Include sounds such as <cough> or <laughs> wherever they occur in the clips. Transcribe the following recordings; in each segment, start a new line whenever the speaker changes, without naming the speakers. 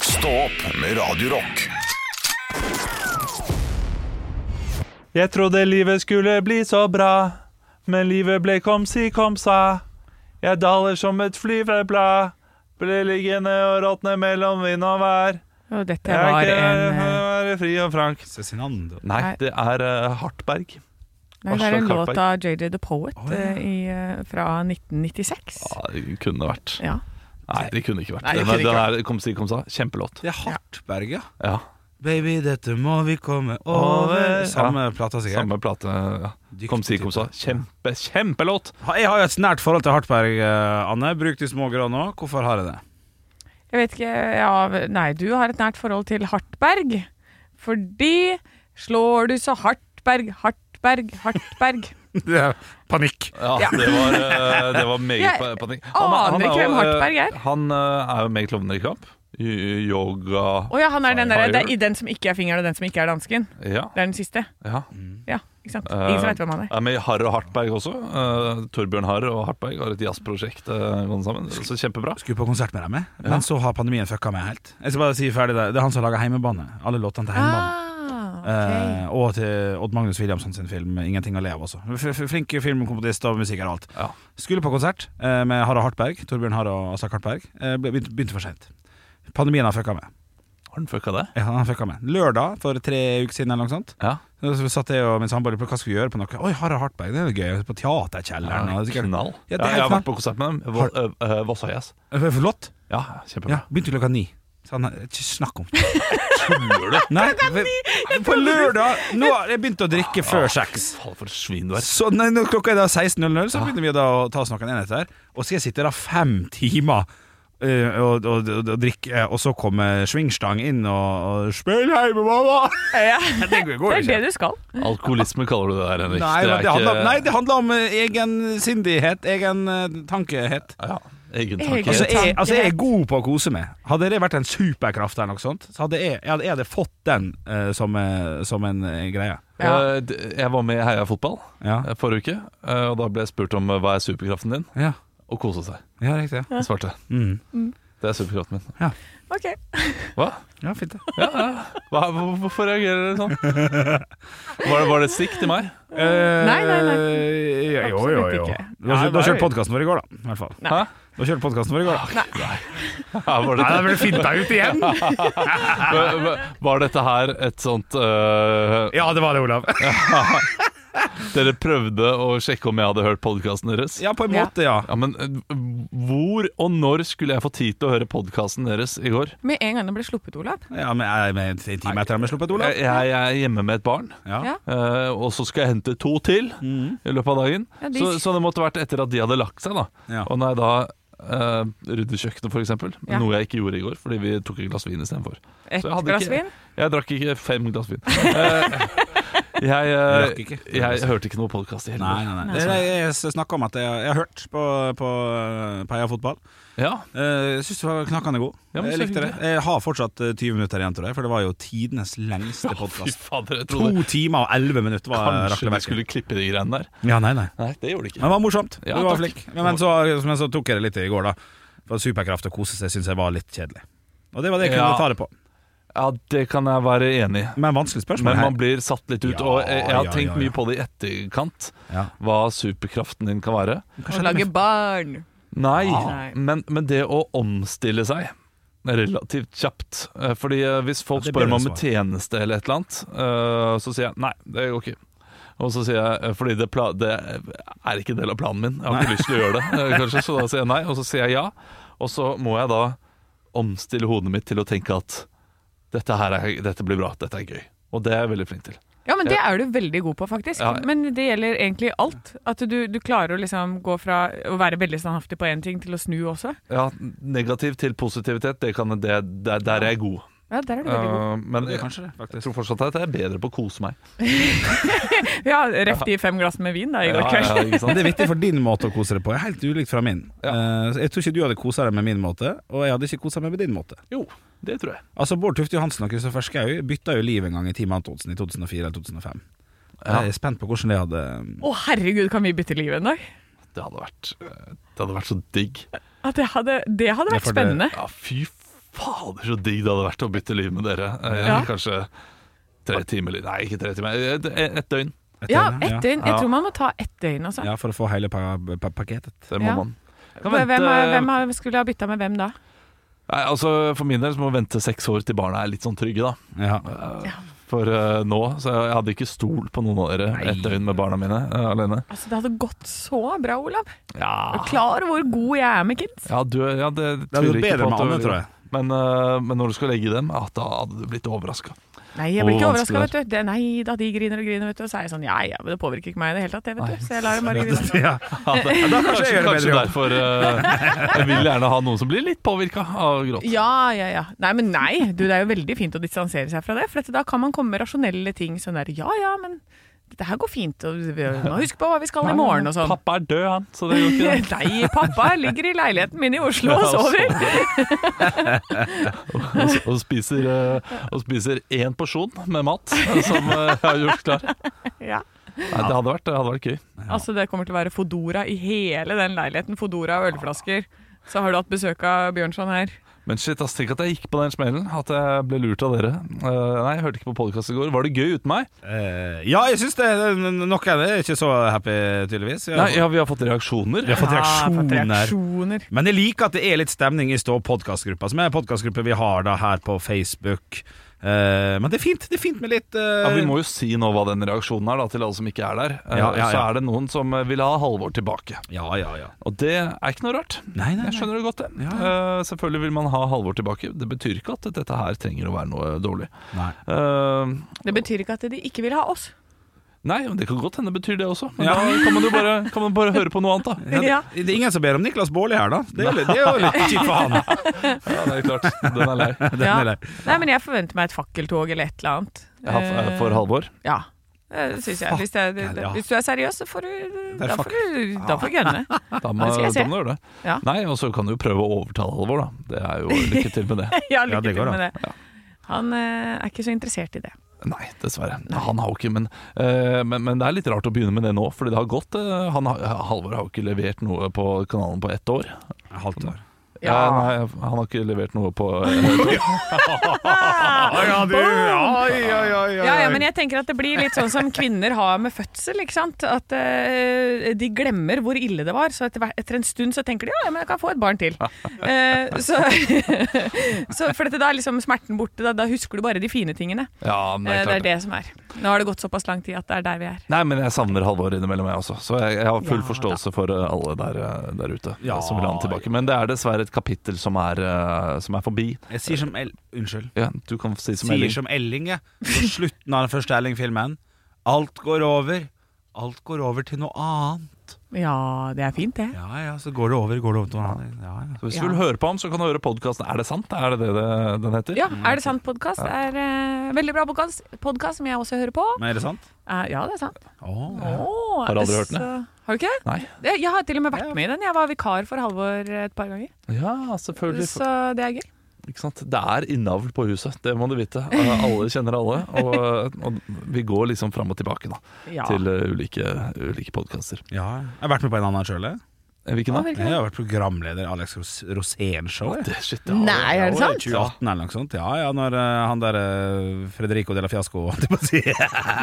Stå opp med Radio Rock.
Jeg trodde livet skulle bli så bra, men livet ble komsi komsa. Jeg daler som et flyveblad, ble liggende og råtne mellom vind og vær.
Og dette
Jeg
var
er ikke
en eh,
være fri og frank.
Cezinando.
Nei,
Nei.
det er eh, Hartberg.
Nei, det er en
Aslak
låt av JJ The Poet
Å, ja.
eh, i, eh, fra 1996.
Ja, det kunne vært.
Ja.
Nei, det kunne ikke vært.
Nei, det
Den,
kunne
er-
ikke
den er komsi komsa. Kjempelåt.
Det er Hartberg, ja.
Ja,
Baby, dette må vi komme
Over.
over. Samme plata, sikkert.
samme plate. Ja.
Dyktig
Komsi
type.
komsa. Kjempe, kjempelåt!
Ha- Jeg har jo et nært forhold til Hartberg, eh, Anne. Bruk de små grå nå. Hvorfor har jeg det?
Jeg vet ikke ja, Nei, du har et nært forhold til Hartberg. Fordi slår du så Hartberg, Hartberg, Hartberg.
<laughs> Det er panikk.
Ja,
Ja.
det var, eh, det var meget
Jeg
pa- panikk.
aner ikke hvem
jo,
Hartberg
eh,
er.
Han eh, er jo med i Klovner i kamp. Y- Yoga
Å ja, han er den der,
Fire.
det er i den som ikke er fingeren, og den som ikke er dansken.
Ja.
Det er den siste.
ja.
Ja, ikke sant? Ingen som vet hvem han er.
Ja, men Harr og Hartberg også. Eh, Torbjørn Harr og Hartberg har et jazzprosjekt eh, gående sammen. Så kjempebra.
Skulle på konsert med dem, jeg. men så har pandemien fucka meg helt. Jeg skal bare si ferdig Det Det er han som lager Heimebane. Alle låtene til
Ah,
Heimebane.
ok.
Eh, og til Odd Magnus Williamson sin film 'Ingenting å le av' også. F f flink filmkomponist og musiker og alt.
Ja.
Skulle på konsert eh, med Harald Hartberg, Torbjørn Harre og Aslak Hartberg. Eh, ble- begynte, begynte for seint. Pandemien har fucka med.
Har han fucka det?
Ja, han fucka med. Lørdag for tre uker siden eller noe sånt.
Ja.
Så satt jeg og min samboer på hva skal vi gjøre på noe. Oi, Harald Hartberg, det er jo gøy. På Teaterkjelleren. og sikkert-
knall.
Ja,
Ja,
det er
jeg har
knall.
vært på konsert med dem. Voss- eh, eh, Vossa Jazz.
Eh, Flott.
Ja,
Ja,
kjempebra.
begynte klokka ni. Så han, ikke snakk om <laughs> det.
Tuller du?
Nei, på lørdag Nå har jeg begynt å drikke før seks.
Faen, for et svin du er.
Så nei, når klokka er da 16.00, så begynner vi da å ta oss noen enheter. Og så skal jeg sitte da fem timer eh, og, og, og, og drikke, eh, og så kommer Svingstang inn og, og Spill hjemme, mamma!
Ja,
Det
det
går
er
ikke.
det du skal.
Alkoholisme kaller du det der,
Nei,
Henrik.
men
er
det handler,
ikke-
nei, det handler om eh, egensindighet, egen eh, tankehet.
Ja, egen tanke.
Altså jeg, altså, jeg er
Tankehet.
god på å kose meg. Hadde det vært en superkraft eller noe sånt, så hadde jeg, jeg, hadde, jeg hadde fått den eh, som, eh, som en eh, greie.
Ja.
Eh, d- Jeg var med i Heia fotball
Ja.
eh, forrige uke, eh, og da ble jeg spurt om eh, hva er superkraften din,
ja.
og kose seg.
Ja, riktig. Ja.
Jeg svarte
Mm.
det er superkraften min.
Ok.
Hva?
ja, fint det.
Ja, ja. hva hvor- hvorfor reagerer dere sånn? Var det, var det et stikk til meg?
<laughs> Nei, nei, nei.
Eh, ja, jo, jo,
Absolutt
jo.
ikke.
Du har
Ja,
kjørt- du har
nei.
kjørt podkasten vår i går, da. I hvert fall.
Nei.
Hæ?
Du har kjørt podkasten vår i går, da.
Nei. Ja, var,
Nei, da
dette,
ble du finta ut igjen!
var dette her et sånt eh,
Ja, det var det, Olav.
Dere prøvde å sjekke om jeg hadde hørt podkasten deres?
Ja, på en måte, ja.
Ja, men eh, hvor og når skulle jeg få tid til å høre podkasten deres i går?
Med en gang det ble sluppet, Olav.
ja men jeg- men En time etter at vi sluppet, Olav.
Jeg, jeg er hjemme med et barn,
Ja. Mm.
Ja.
eh, og så skal jeg hente to til i løpet av dagen.
Ja, de-
så, så det måtte vært etter at de hadde lagt seg, da.
Ja.
Og når jeg da eh, rydder kjøkkenet, for eksempel,
Ja.
noe jeg ikke gjorde i går fordi vi tok et glass vin istedenfor.
Et
Så jeg hadde
glass
ikke-
vin.
Jeg drakk ikke fem glass vin. Eh, jeg, eh,
Du drakk ikke?
jeg hørte ikke noe podkast i hele
sånn. Nei,
går.
nei, nei. Jeg, jeg snakka om at jeg, jeg har hørt på, på, eh, på Heia fotball.
Ja,
Eh, Jeg syns du var knakende god.
Ja, men
jeg
så
likte det.
hyggelig.
Jeg har fortsatt eh, 20 minutter igjen til deg, for det var jo tidenes
<laughs>
lengste
fy
podkast.
fader, jeg
To
trodde
timer og 11 minutter var
kanskje vi
rakleverket.
skulle klippe de greiene der.
Ja, nei, nei.
Nei, det gjorde de
Men det var morsomt.
Ja,
du var
takk.
flink. Men, men, så, men så tok jeg det litt i går, da. For superkraft og kose seg syns jeg var litt kjedelig. Og det var det jeg
Ja.
kunne ta det på.
Ja, det kan jeg være enig i.
Men vanskelig spørsmål.
Men man
her.
blir satt litt ut.
Ja,
og jeg, jeg har
ja,
tenkt
ja, ja.
mye på det i etterkant,
Ja.
hva superkraften din kan være.
Å lage barn.
Nei,
Nei.
men, men det å omstille seg relativt kjapt. Eh, Fordi eh, hvis folk
Ja, det
spør
blir
meg om
det
en tjeneste eller et eller annet, eh, så sier jeg nei, det går ikke. Og så sier jeg, eh, fordi det, pla det er ikke en del av planen min, jeg har ikke lyst til å gjøre det, eh, kanskje, så da sier jeg nei, og så sier jeg ja. Og så må jeg da omstille hodet mitt til å tenke at dette, her er, dette blir bra, dette er gøy. Og det er jeg veldig flink til.
Ja, men det er du veldig god på, faktisk.
Ja.
Men det gjelder egentlig alt. At du, du klarer å liksom gå fra å være veldig standhaftig på én ting, til å snu også.
Ja, negativ til positivitet, det kan, det, der, der er jeg god.
Ja, der er du veldig god.
Eh, men
Det er
jeg,
kanskje det,
jeg
faktisk.
tror fortsatt at jeg er bedre på å kose meg.
Ja, Ref de fem glassene med vin da i går
Ja,
kveld.
ja, ikke sant?
Sånn, Det er vittig, for din måte å kose deg på er helt ulikt fra min. Eh, så Jeg tror ikke du hadde kosa deg med min måte, og jeg hadde ikke kosa meg med din måte.
<laughs> Jo, det tror jeg.
Altså Bård Tufte Johansen og Kristoffer Schou bytta jo liv en gang i Team Antonsen i 2004 eller 2005.
Ja.
Jeg er spent på hvordan det hadde eh,
Å herregud, kan vi bytte liv en dag?
Det hadde vært, eh, det hadde vært så digg.
At det, hadde, det hadde
Ja,
vært
for det-
spennende.
Ja, fy Fader, så digg det hadde vært å bytte liv med dere. Eh,
Ja.
Kanskje tre timer li- Nei, ikke tre timer. eh, Et, et døgn.
Ja,
døgn,
ett
Ja.
døgn. Jeg tror man må ta ett døgn, altså.
Ja, for å få hele pa pa pakketet.
Det må
Ja.
man. Kan
Hvem,
vente-
er- hvem er- skulle ha bytta med hvem da?
Nei, altså, for min del så må vi vente seks år til barna er litt sånn trygge, da.
Ja.
For eh, nå så jeg hadde ikke stol på noen av dere et døgn med barna mine eh, alene.
Altså, det hadde gått så bra, Olav. Er
Ja,
du klar over hvor god jeg er med kids?
ja, du, ja det,
Det hadde
tviler
vært
jeg ikke på
bedre med
at du-
Anne, tror jeg.
Men, eh, men når du skal legge dem, ja, da hadde du blitt
<laughs>
overraska.
Nei, jeg
Å,
blir ikke
vanskelig
overraska, vet du. Det, nei da, de griner og griner, vet du. Og så er jeg sånn ja ja, men det påvirker ikke meg i det hele tatt, det, vet du. Så jeg lar dem
<laughs>
bare
<laughs>
grine.
Ja.
Ja, det-
kanskje jeg gjør det
kanskje
bedre
derfor eh, Jeg vil gjerne ha noen som blir litt påvirka av gråt.
Ja, ja, ja. Nei, men nei. Du, det er jo veldig fint å distansere seg fra det. For at da kan man komme med rasjonelle ting sånn der ja ja, men det her går fint. Og vi må huske på hva vi skal i morgen og sånn.
Pappa er død, han, så det gjør
<laughs>
ikke det.
Nei, pappa ligger i leiligheten min i Oslo og
Ja, altså.
sover.
<laughs> Og, og spiser, eh, og spiser én porsjon med mat eh, som eh, jeg har gjort klar.
Ja.
Nei, det, hadde vært, det hadde vært gøy.
Altså, det kommer til å være Fodora i hele den leiligheten. Fodora og ølflasker. Så har du hatt besøk av Bjørnson her.
Men shit, ass, tenk at jeg gikk på den smellen. At jeg ble lurt av dere. Eh, nei, jeg hørte ikke på podkast i går. Var det gøy uten meg?
Eh, ja, jeg syns det. Nok er det ikke så happy, tydeligvis. Vi har-
Nei, ja, vi har fått reaksjoner.
Vi har fått
fått
reaksjoner.
reaksjoner.
Men jeg liker at det er litt stemning i Stå podkastgruppa, som er en podkastgruppe vi har da her på Facebook. Eh, men det er fint det er fint med litt eh,
Ja, vi må jo si nå hva den reaksjonen er, da, til alle som ikke er der. Eh,
Ja, ja,
Så
ja.
er det noen som eh, vil ha Halvor tilbake.
ja, ja, ja.
Og det er ikke noe rart.
Nei, nei,
Jeg
nei.
skjønner det godt, det.
Ja.
Eh, selvfølgelig vil man ha Halvor tilbake. Det betyr ikke at dette her trenger å være noe dårlig.
nei.
Eh,
Det betyr ikke at de ikke vil ha oss.
nei, men det kan godt hende betyr det også. Men
Ja.
da kan man jo bare, kan man bare høre på noe annet, da.
Ja, det,
Ja.
det er ingen som ber om Niklas Baarli her, da. Det er, jo litt- det er jo litt kjipt for han.
Ja, det er klart. Den er lei.
Den er lei.
Nei, men jeg forventer meg et fakkeltog eller et eller annet.
Ja, f- For Halvor.
Ja. Det syns jeg. Hvis, det, det, det,
ja.
hvis du er seriøs, så får du,
er
da får
fuck.
du, da får du gønne.
Da må,
det skal jeg se.
da må du gjøre det.
Ja.
Nei, og så kan du jo prøve å overtale Halvor, da. Det er jo lykke til med det.
<laughs> Ja,
Ja,
lykke
det
til
går an.
med det. Han eh, er ikke så interessert i det.
Nei, dessverre. Han har jo ikke men, eh, men, men det er litt rart å begynne med det nå, fordi det har gått eh, han, har- Halvor har jo ikke levert noe på kanalen på ett år.
Halvt år.
Ja.
<laughs>
nei, han har ikke levert noe på eh,
Ja, du, ja, ja, ja,
Ja, ja, men jeg tenker at det blir litt sånn som kvinner har med fødsel, ikke sant? At eh, de glemmer hvor ille det var, så etter, hver- etter en stund så tenker de ja, ja, men jeg kan få et barn
<laughs>
til. Eh, så, <laughs> så for dette, da er liksom smerten borte, da, da husker du bare de fine tingene.
Ja, men
Eh, det er
klart det.
det som er. Nå har det gått såpass lang tid at det er der vi er.
Nei, men jeg savner Halvor innimellom, jeg også. Så jeg, jeg har full
Ja,
forståelse for eh, alle der, eh, der ute
Ja.
eh, som vil ha han tilbake. Men det er dessverre et kapittel som er, eh, som er forbi.
Jeg sier som El... Unnskyld.
Ja, du kan si som
Sier
Elling.
som Elling, jeg. På slutten av den første Elling-filmen. Alt går over. Alt går over til noe annet.
Ja, det er fint, det.
Ja ja, så går det over, går det over til noe annet. Ja, ja.
Hvis
Ja.
du vil høre på ham, så kan du høre podkasten Er det sant? Er det det det- den heter?
Ja, Er det sant podkast? Er eh, Veldig bra podkast som jeg også hører på.
Men er det sant?
Eh, ja, det er sant.
Åh.
Åh,
Har aldri hørt den,
så- Har du ikke det?
Nei.
Jeg- Jeg har til og med vært med i den. Jeg var vikar for Halvor et par ganger.
Ja, selvfølgelig.
Så det er gøy.
Ikke sant? Det er innavl på huset, det må du vite. Eh, Alle kjenner alle. Og, og vi går liksom fram og tilbake da,
Ja.
til eh, ulike, ulike podkaster.
Ja, jeg har vært med på en annen sjøl. jeg.
Hvilken da?
Å, virkelig?
Jeg har vært programleder Alex Ros Rosén-show. jeg.
Det, shit, ja.
Nei, er det
Ja, i
sant?
2018 eller noe sånt. Ja, ja, når eh, han der eh, Fredrico de la Fiasco <laughs> holdt jeg på å si.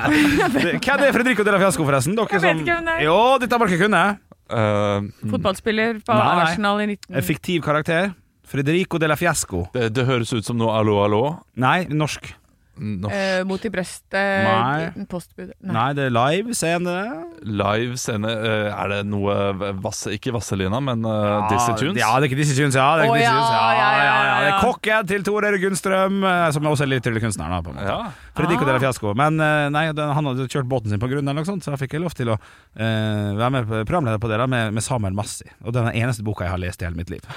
Det- Hvem er Fredrico de la Fiasco, forresten? Dere
Jeg vet ikke hvem det er.
Jo, dette må dere kunne.
Eh,
Mm. Fotballspiller på
Nei, nei.
Arsenal i 19...
En fiktiv karakter. Fredrico de la Fiasco.
mm, det, det høres ut som noe allo, allo.
Nei, norsk.
Norsk
Eh, mot i brøstet.
Nei.
Postbud.
Nei,
Nei.
det er live scene.
live scene eh, Er det noe vasse, Ikke Vasselina, men eh, Dizzie Tunes?
Ja, det er ikke Dizzie Tunes, ja. Det er,
Å,
ikke Dizzy
ja,
Tunes, ja,
ja,
ja,
ja,
ja, Det
ja.
er kokken til Tor Erik Gunnstrøm, eh, som også er litt tryllekunstneren, da, på en måte.
Ja.
Fredrico
Ah.
de la Fiasco. Men eh, nei, den, han hadde kjørt båten sin på grunn, eller noe sånt, så jeg fikk lov til å eh, være med på- programleder på det da, med, med Samuel Massi. Og det er den eneste boka jeg har lest i hele mitt liv.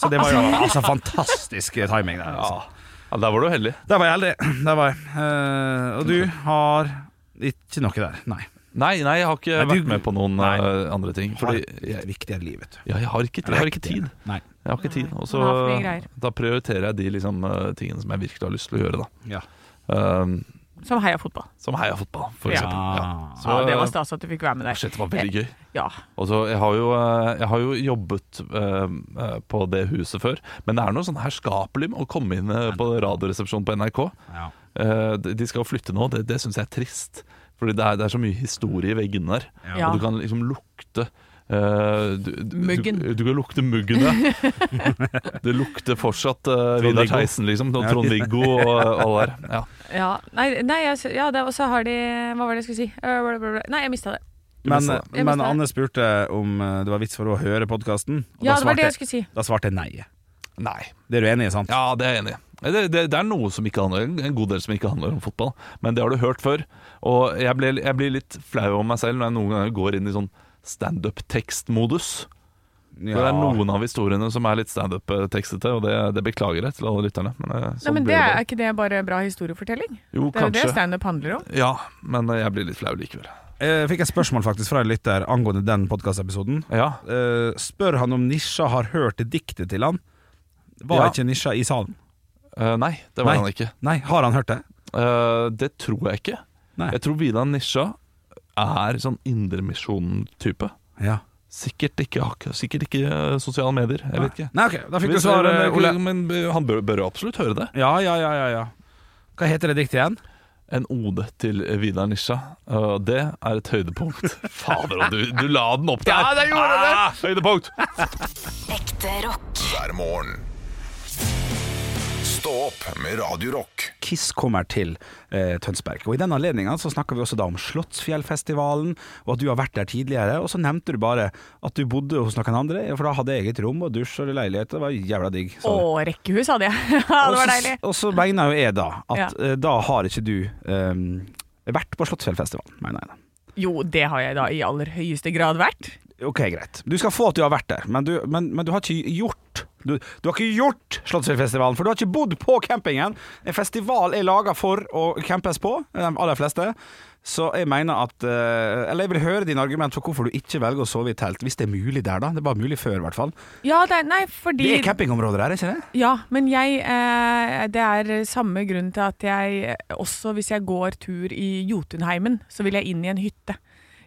Så det
<laughs>
var jo altså fantastisk timing. Der, altså.
Ja. ja, der var du heldig.
der var jeg heldig. <clears throat> Der var jeg. Eh, og du har ikke noe der, nei.
Nei, nei, jeg har ikke
Nei, du-
vært med på noen
Nei.
eh, andre ting. Fordi jeg,
viktigere liv, vet du.
ja, jeg, har ikke, jeg har ikke tid.
Nei.
Jeg har ikke tid Og så
man har for mye greier.
da prioriterer jeg de liksom, eh, tingene som jeg virkelig har lyst til å gjøre. Da.
Ja.
Um,
som heia fotball.
Som heia fotball, for
Ja.
Ah,
eksempel. Ja. Så,
Ja, det var stas at du fikk være med der.
Shit, det var veldig gøy.
Ja.
Og så, jeg, har jo, eh, jeg har jo jobbet eh, eh, på det huset før, men det er noe sånn herskapelig med å komme inn eh, på radioresepsjonen på NRK.
Ja.
Eh, de de skal jo flytte nå, det, det syns jeg er trist. Fordi det er, det er så mye historie i veggene der.
Ja.
Og du kan liksom lukte eh, du, du-
Muggen.
Du, du kan lukte muggen,
<laughs>
ja. det lukter fortsatt eh, Vidar
Trond-Viggo.
Theisen, liksom. Og Trond-Viggo og eh, alle der. Ja.
ja. Nei, nei jeg, s- ja, det- og så har de Hva var det jeg skulle si? Øh, bla, bla, bla. Nei, jeg mista det.
Men, eh,
Jeg
mistet
men
det.
Anne spurte om eh, det var vits for å høre podkasten, og
Ja, det
da,
var det
svarte,
jeg skulle si.
da svarte jeg nei.
Nei.
Det er du enig i, sant?
Ja, det er jeg enig i. Det, det, det er noe som ikke handler, en god del som ikke handler om fotball, men det har du hørt før. Og jeg blir, jeg blir litt flau over meg selv når jeg noen ganger går inn i sånn standup-tekstmodus. For Det er noen av historiene som er litt standup-tekstete, og det, det beklager jeg til alle lytterne. Men, eh, sånn
Nei, men
blir
det er
bare.
ikke det bare bra historiefortelling?
Jo,
Det er jo det
kanskje.
standup handler om.
Ja, men eh, jeg blir litt flau likevel.
Jeg Eh, fikk et spørsmål faktisk fra en lytter angående den podkastepisoden.
Ja,
Eh, spør han om Nisha har hørt diktet til han. Var
Ja.
ikke Nisha i salen?
eh, Nei, det var
Nei.
han ikke.
Nei, har han hørt det?
Eh, det tror jeg ikke.
Nei.
Jeg tror Vidar Nisja er sånn Indremisjonen-type.
Ja. Nei,
Sikkert ikke, ak- sikkert ikke eh, sosiale medier. Jeg vet ikke.
ok, da fikk du
Hvis-
svar,
men, eh,
Ole.
Men eh, han bør, bør jo absolutt høre det.
Ja, ja, ja, ja, ja. Hva heter det diktet igjen?
En ode til eh, Vidar Nisja. Og det er et høydepunkt. Fader, og du, du la den opp der! Ja, det gjorde ah, det! Høydepunkt!
Ekte rock.
hver morgen. Stå opp med Radio Rock.
Kiss kommer til eh, Tønsberg. Og I den anledninga snakker vi også da om Slottsfjellfestivalen, og at du har vært der tidligere. Og så nevnte du bare at du bodde hos noen andre, for da hadde jeg eget rom og dusj og leilighet. Det var jævla digg. sa
Å,
du.
rekkehus hadde jeg. <laughs> Ja, det var
Og så-
deilig.
Og så mener jo jeg da at
Ja.
eh, da har ikke du eh, vært på Slottsfjellfestivalen, mener jeg da.
Jo, det har jeg da i aller høyeste grad vært.
Ok, greit. Du skal få at du har vært der, men du, men, men du har ikke gjort du, du har ikke gjort Slottsfjellfestivalen, for du har ikke bodd på campingen. En festival er laga for å campes på, eh, de aller fleste. Så jeg mener at eh, Eller jeg vil høre din argument for hvorfor du ikke velger å sove i telt, hvis det er mulig der, da. Det var mulig før, i hvert fall.
Ja, det er, nei,
Det
fordi
er campingområder her, er ikke det?
Ja, men jeg eh, Det er samme grunn til at jeg eh, også, hvis jeg går tur i Jotunheimen, så vil jeg inn i en hytte.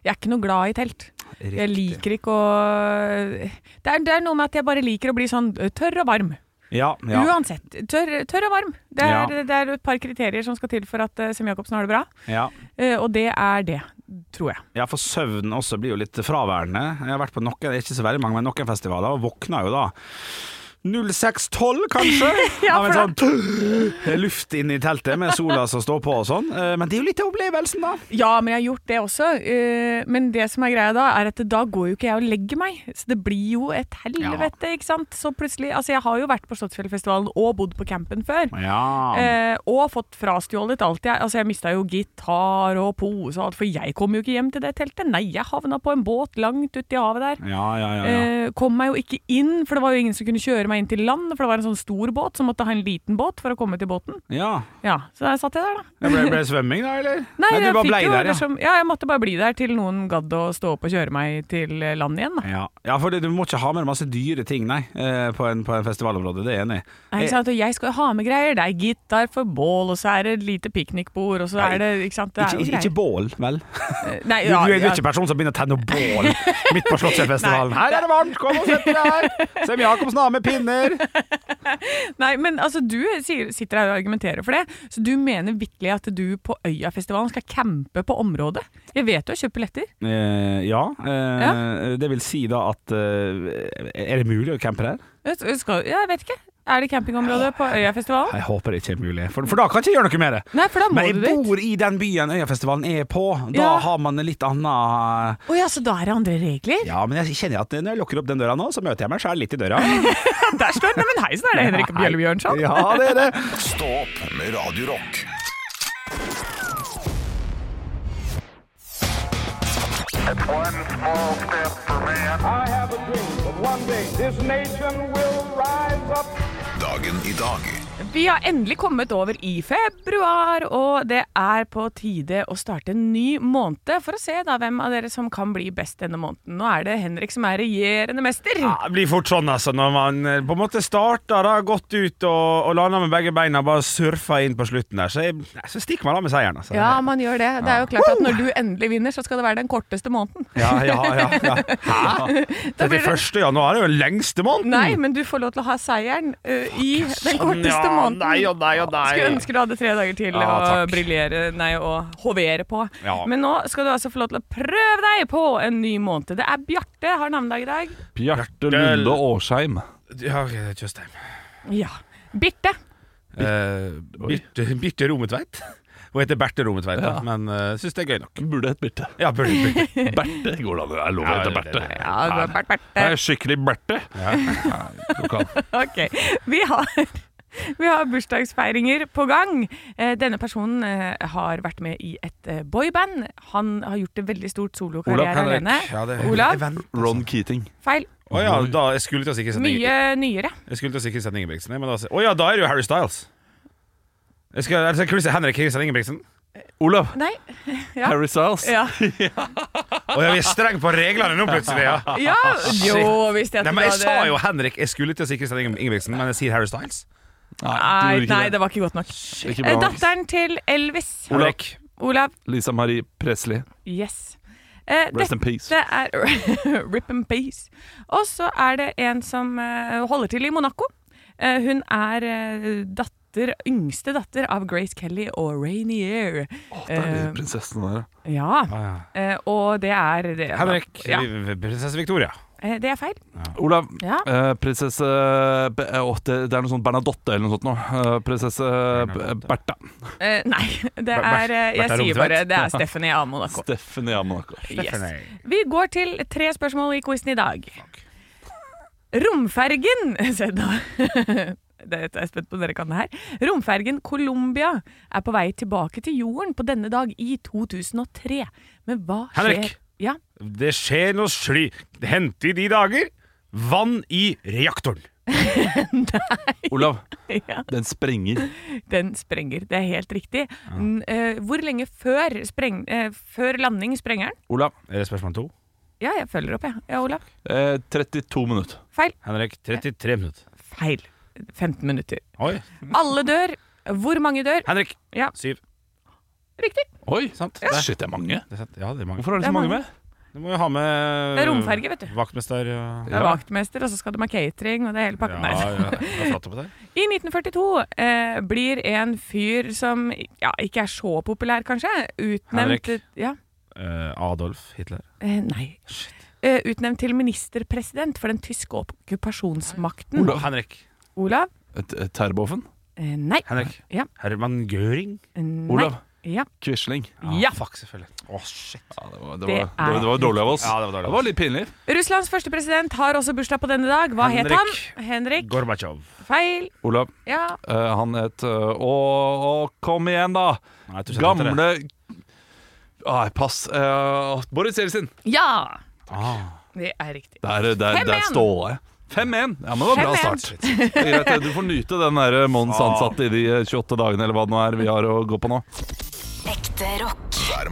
Jeg er ikke noe glad i telt. Jeg liker ikke å eh, det er, det er noe med at jeg bare liker å bli sånn eh, tørr og varm.
Ja, ja.
Uansett. Tørr, tørr og varm. Det er,
Ja.
det er et par kriterier som skal til for at eh, Sem-Jacobsen har det bra,
ja.
Eh, og det er det, tror jeg.
Ja, for søvn også blir jo litt fraværende. Jeg har vært på noen, ikke så veldig mange, men noen festivaler, og våkna jo da 0612,
<laughs>
kanskje?
Ja,
Av en
for
sånn <laughs> luft inn i teltet med sola som står på og sånn. Eh, Men det er jo litt av opplevelsen, da.
Ja, men jeg har gjort det også. eh, Men det som er greia da, er at da går jo ikke jeg og legger meg. Så det blir jo et helvete, ikke sant. Så plutselig Altså, jeg har jo vært på Slottsfjellfestivalen og bodd på campen før.
Ja.
Eh, og fått frastjålet alt jeg Altså, jeg mista jo gitar og pose og alt, for jeg kom jo ikke hjem til det teltet. Nei, jeg havna på en båt langt uti havet der.
Ja, ja, ja. ja.
Eh, kom meg jo ikke inn, for det var jo ingen som kunne kjøre meg inn til land. For det var en sånn stor båt, så måtte jeg ha en liten båt for å komme til båten.
ja.
Ja, Så der satt jeg der, da.
Det ble, ble svømming, da, eller?
<laughs> Nei,
du
jeg
bare
fikk
blei
jo
der, ja.
liksom, ja. jeg måtte bare bli der til noen gadd å stå opp og kjøre meg til eh, land igjen. Da.
Ja, ja for det- du må ikke ha med masse dyre ting, nei, eh, på en, på en festivalområde. Det er jeg enig i.
Nei, ikke sant? Og jeg skal jo ha med greier. Det er gitar for bål, og så er det et lite piknikbord, og så er det Ikke sant. Det er
Ikke,
jo
ikke, ikke
greier.
bål, vel?
Nei,
Du,
ja,
du, er- du
ja.
er ikke personen som begynner å tenne bål
<laughs>
midt på Slottsfjellfestivalen. Her er det varmt, kom og sett deg her! Sem Jacobsen har med pinner.
Nei, men altså, du sier, sitter her og argumenterer for det, så du mener vitterlig at du på Øyafestivalen skal campe på området? Jeg vet du har kjøpt billetter.
Eh, ja, eh, det vil si da at eh, Er det mulig å campe her?
Jeg s- Skal, ja, jeg vet ikke. Er det campingområde på Øyafestivalen?
Jeg håper det ikke er mulig, for, for da kan jeg ikke gjøre noe med det.
Nei, for da må
Men
du
jeg
dit.
bor i den byen Øyafestivalen er på. Da
Ja.
har man en litt annen eh,
Å ja, så da er det andre regler?
Ja, men jeg kjenner at når jeg lukker opp den døra nå, så møter jeg meg sjæl litt i døra.
Ja, der står det! Men heisen er det <laughs> Henrik Bjelle Bjørnson.
Ja, det er det.
Stå opp med Radio Rock.
One small step for man.
I have a dream that one day this nation will rise up.
Dagen i dag
Vi har endelig kommet over i februar, og det er på tide å starte en ny måned for å se da hvem av dere som kan bli best denne måneden. Nå er det Henrik som er regjerende mester.
Ja, det blir fort sånn, altså. Når man eh, på en måte starter da, godt ut og, og lander med begge beina, bare surfer inn på slutten der, så, jeg, nei, så stikker man av med seieren. Altså.
Ja, man gjør det. Det er jo klart at når du endelig vinner, så skal det være den korteste måneden.
ja, ja, ja,
<laughs>
ja. Hæ?
Da blir det-
31. januar er jo den lengste måneden! Sånn,
Nei, men du får lov til å ha seieren ø, i den korteste
ja,
måneden.
nei og nei og nei.
Skulle ønske du hadde tre dager til
Ja,
å
takk.
briljere, nei, å hovere på.
Ja.
Men nå skal du altså få lov til å prøve deg på en ny måned. Det er Bjarte har navnedag i dag.
Bjarte Lunde Årsheim.
Ja, ok, Tjøstheim.
Ja. Birte.
Eh, Birte, Birte Rometveit. Hun heter Berthe Rometveit, da,
Ja.
men uh, syns det er gøy nok.
Burde hett Birte.
Ja, Birte, Birte.
Berte går det an? Det er lov å
Ja,
hete
det- det-
Berte.
det-
Ja, det var Bert,
Det
Berte.
er skikkelig Berte. Du kan.
Ok, vi har... <laughs> Vi har bursdagsfeiringer på gang. Eh, Denne personen eh, har vært med i et eh, boyband. Han har gjort en veldig stort
Olav
solokarriere
Henrik.
alene.
Ja, det-
Olav,
Vent.
Ron
Altså.
Keating.
feil.
Å ja, da, jeg skulle til å si Kristian
Mye
Inge-
nyere.
Jeg skulle til å si Kristian Ingebrigtsen. jeg, Men da, å ja, da er det jo Harry Styles. Jeg skal, altså, Christian, Henrik Kristian Ingebrigtsen.
Olav.
Nei. <laughs> Ja.
Harry Styles.
Ja.
Å ja, vi er streng på reglene nå, plutselig. Ja.
ja. Jo, visste jeg at
Nei, men
du
jeg
hadde-
sa jo Henrik. Jeg skulle til å si Kristian Inge- Ingebrigtsen, men jeg sier Harry Styles.
Nei,
Nei,
du gjorde
nei,
ikke
det var ikke godt nok.
det. Ikke
Eh,
bra.
Datteren til Elvis.
Olav.
Henrik.
Olav.
Lisa Marie Presley.
Yes. Eh,
Rest in peace.
dette er <laughs> Rip and Peace. Og så er det en som eh, holder til i Monaco. Eh, hun er eh, datter, yngste datter av Grace Kelly og Rainier. Eh,
Å, det er de prinsessene der, ja.
Ja,
Ah, ja.
eh, og det er det.
Henrik.
Ja,
Vi- vi- Prinsesse Victoria.
eh, det er feil.
Olav.
Ja.
Eh, prinsesse Be- eh, åh, det, det er noe sånn Bernadotte eller noe sånt nå. Eh, prinsesse Be- Bertha.
Eh, nei, <laughs> det
Ber-
er eh, Jeg
Bertha
sier bare
Romsveit.
det er Stephanie av Monaco.
Stephanie av
<laughs>
Monaco.
Yes. Vi går til tre spørsmål i quizen i dag.
Fuck.
Romfergen <laughs> Se, da. Dette er jeg spent på om dere kan det her. Romfergen Colombia er på vei tilbake til jorden på denne dag i 2003. Men hva skjer
Henrik.
Ja, <laughs>
Det skjer noe sli... Hente i de dager vann i reaktoren.
Olav,
ja,
den sprenger.
den sprenger. Det er helt riktig. N- eh, Hvor lenge før, spreng, eh, før landing sprenger den?
Olav.
Er det spørsmål to?
Ja, jeg følger opp, jeg. Ja, Olav.
Eh, 32 minutter.
Feil.
Henrik, 33 minutter.
Feil. 15 minutter.
Oi.
Alle dør. Hvor mange dør?
Henrik,
Ja,
syv.
riktig.
Oi,
Sant.
det er- shit, det er mange.
Det er sant. Ja, det er mange.
Hvorfor er det så
Det er
mange
mange.
med?
Du må jo ha med
Det er romferge, vet du.
Vaktmester og
Det er vaktmester, og så skal de ha catering og det hele pakka. <laughs> Nei.
ja. Jeg har satt opp det.
I 1942 eh, blir en fyr som ja, ikke er så populær, kanskje, utnevnt
Henrik.
Ja,
Eh, Adolf Hitler.
eh, nei. Eh, utnevnt til ministerpresident for den tyske okkupasjonsmakten.
Olav.
Henrik.
Olav?
Et- et Terboven?
Eh, nei.
Henrik.
Ja. eh,
Herman Göring.
Nei.
Olav.
Ja.
Quisling.
ja.
Fuck, selvfølgelig. Å, shit.
Ja, det, var, det,
Det
var, det, var,
er
det var dårlig av oss.
Ja, det var dårlig
det
av oss.
var litt pinlig.
Russlands første president har også bursdag på denne dag. Hva het han?
Henrik.
Henrik.
Gorbatsjov.
Feil.
Olav,
Ja.
eh, han het eh, Å, å, kom igjen, da!
Nei, jeg tror ikke han heter det.
Gamle Nei, pass. Eh, Boris Jeltsin.
ja.
Ah.
Det er riktig.
Der, der, der
5-1.
ståla jeg. 5-1. Ja, men det var bra
5-1.
start. Det er greit, eh, Du får nyte den der eh, <laughs> Mons ansatte i de 28 dagene eller hva det nå er vi har å gå på nå.
Ekte rock.
hver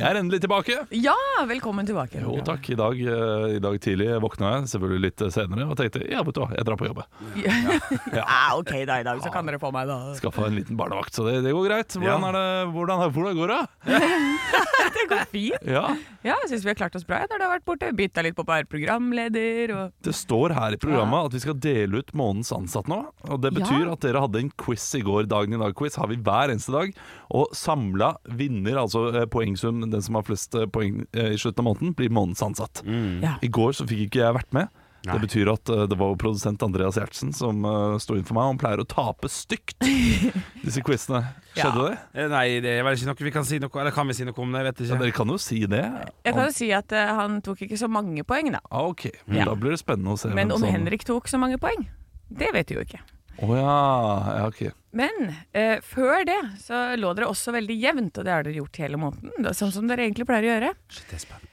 Jeg er endelig tilbake.
Ja, velkommen tilbake.
Jo takk, i dag, eh, i dag tidlig våkna jeg selvfølgelig litt eh, senere og tenkte ja, vet du hva, jeg drar på jobb. jeg.
Ah, OK, da i dag så kan dere få meg, da.
Skaffa en liten barnevakt, så det, det går greit. Hvordan,
Ja.
er det, hvordan, hvordan går det?
Det går fint.
Ja,
Ja, jeg syns vi har klart oss bra ja, når det har vært borte. Bytta litt på å være programleder og
Det står her i programmet at vi skal dele ut månedens ansatt nå. Og Det betyr
Ja.
at dere hadde en quiz i går. Dagen i dag-quiz har vi hver eneste dag. Og samla vinner, altså eh, poengsum, den som har flest eh, poeng eh, i slutten av måneden, blir månedens ansatt.
Ja.
I går så fikk ikke jeg vært med.
Nei.
Det betyr at eh, det var produsent Andreas Gjertsen som uh, sto inn for meg. Han pleier å tape
<laughs>
stygt, disse quizene.
Ja.
Skjedde det?
Eh, Nei, det er vel ikke noe vi kan si noe Eller kan vi si noe om det? Jeg vet
Ja,
ikke.
dere kan jo si det.
Jeg kan jo si at eh, han tok ikke så mange poeng, da.
Ah, ok,
Ja.
Da blir det sånn. spennende å se.
Men
hvem
om
som-
Henrik tok så mange poeng, det vet vi jo ikke.
Å ja. ja, ok.
Men eh, før det så lå dere også veldig jevnt, og det har dere gjort hele måneden. da, Sånn som dere egentlig pleier å gjøre.
Shit, jeg er spent.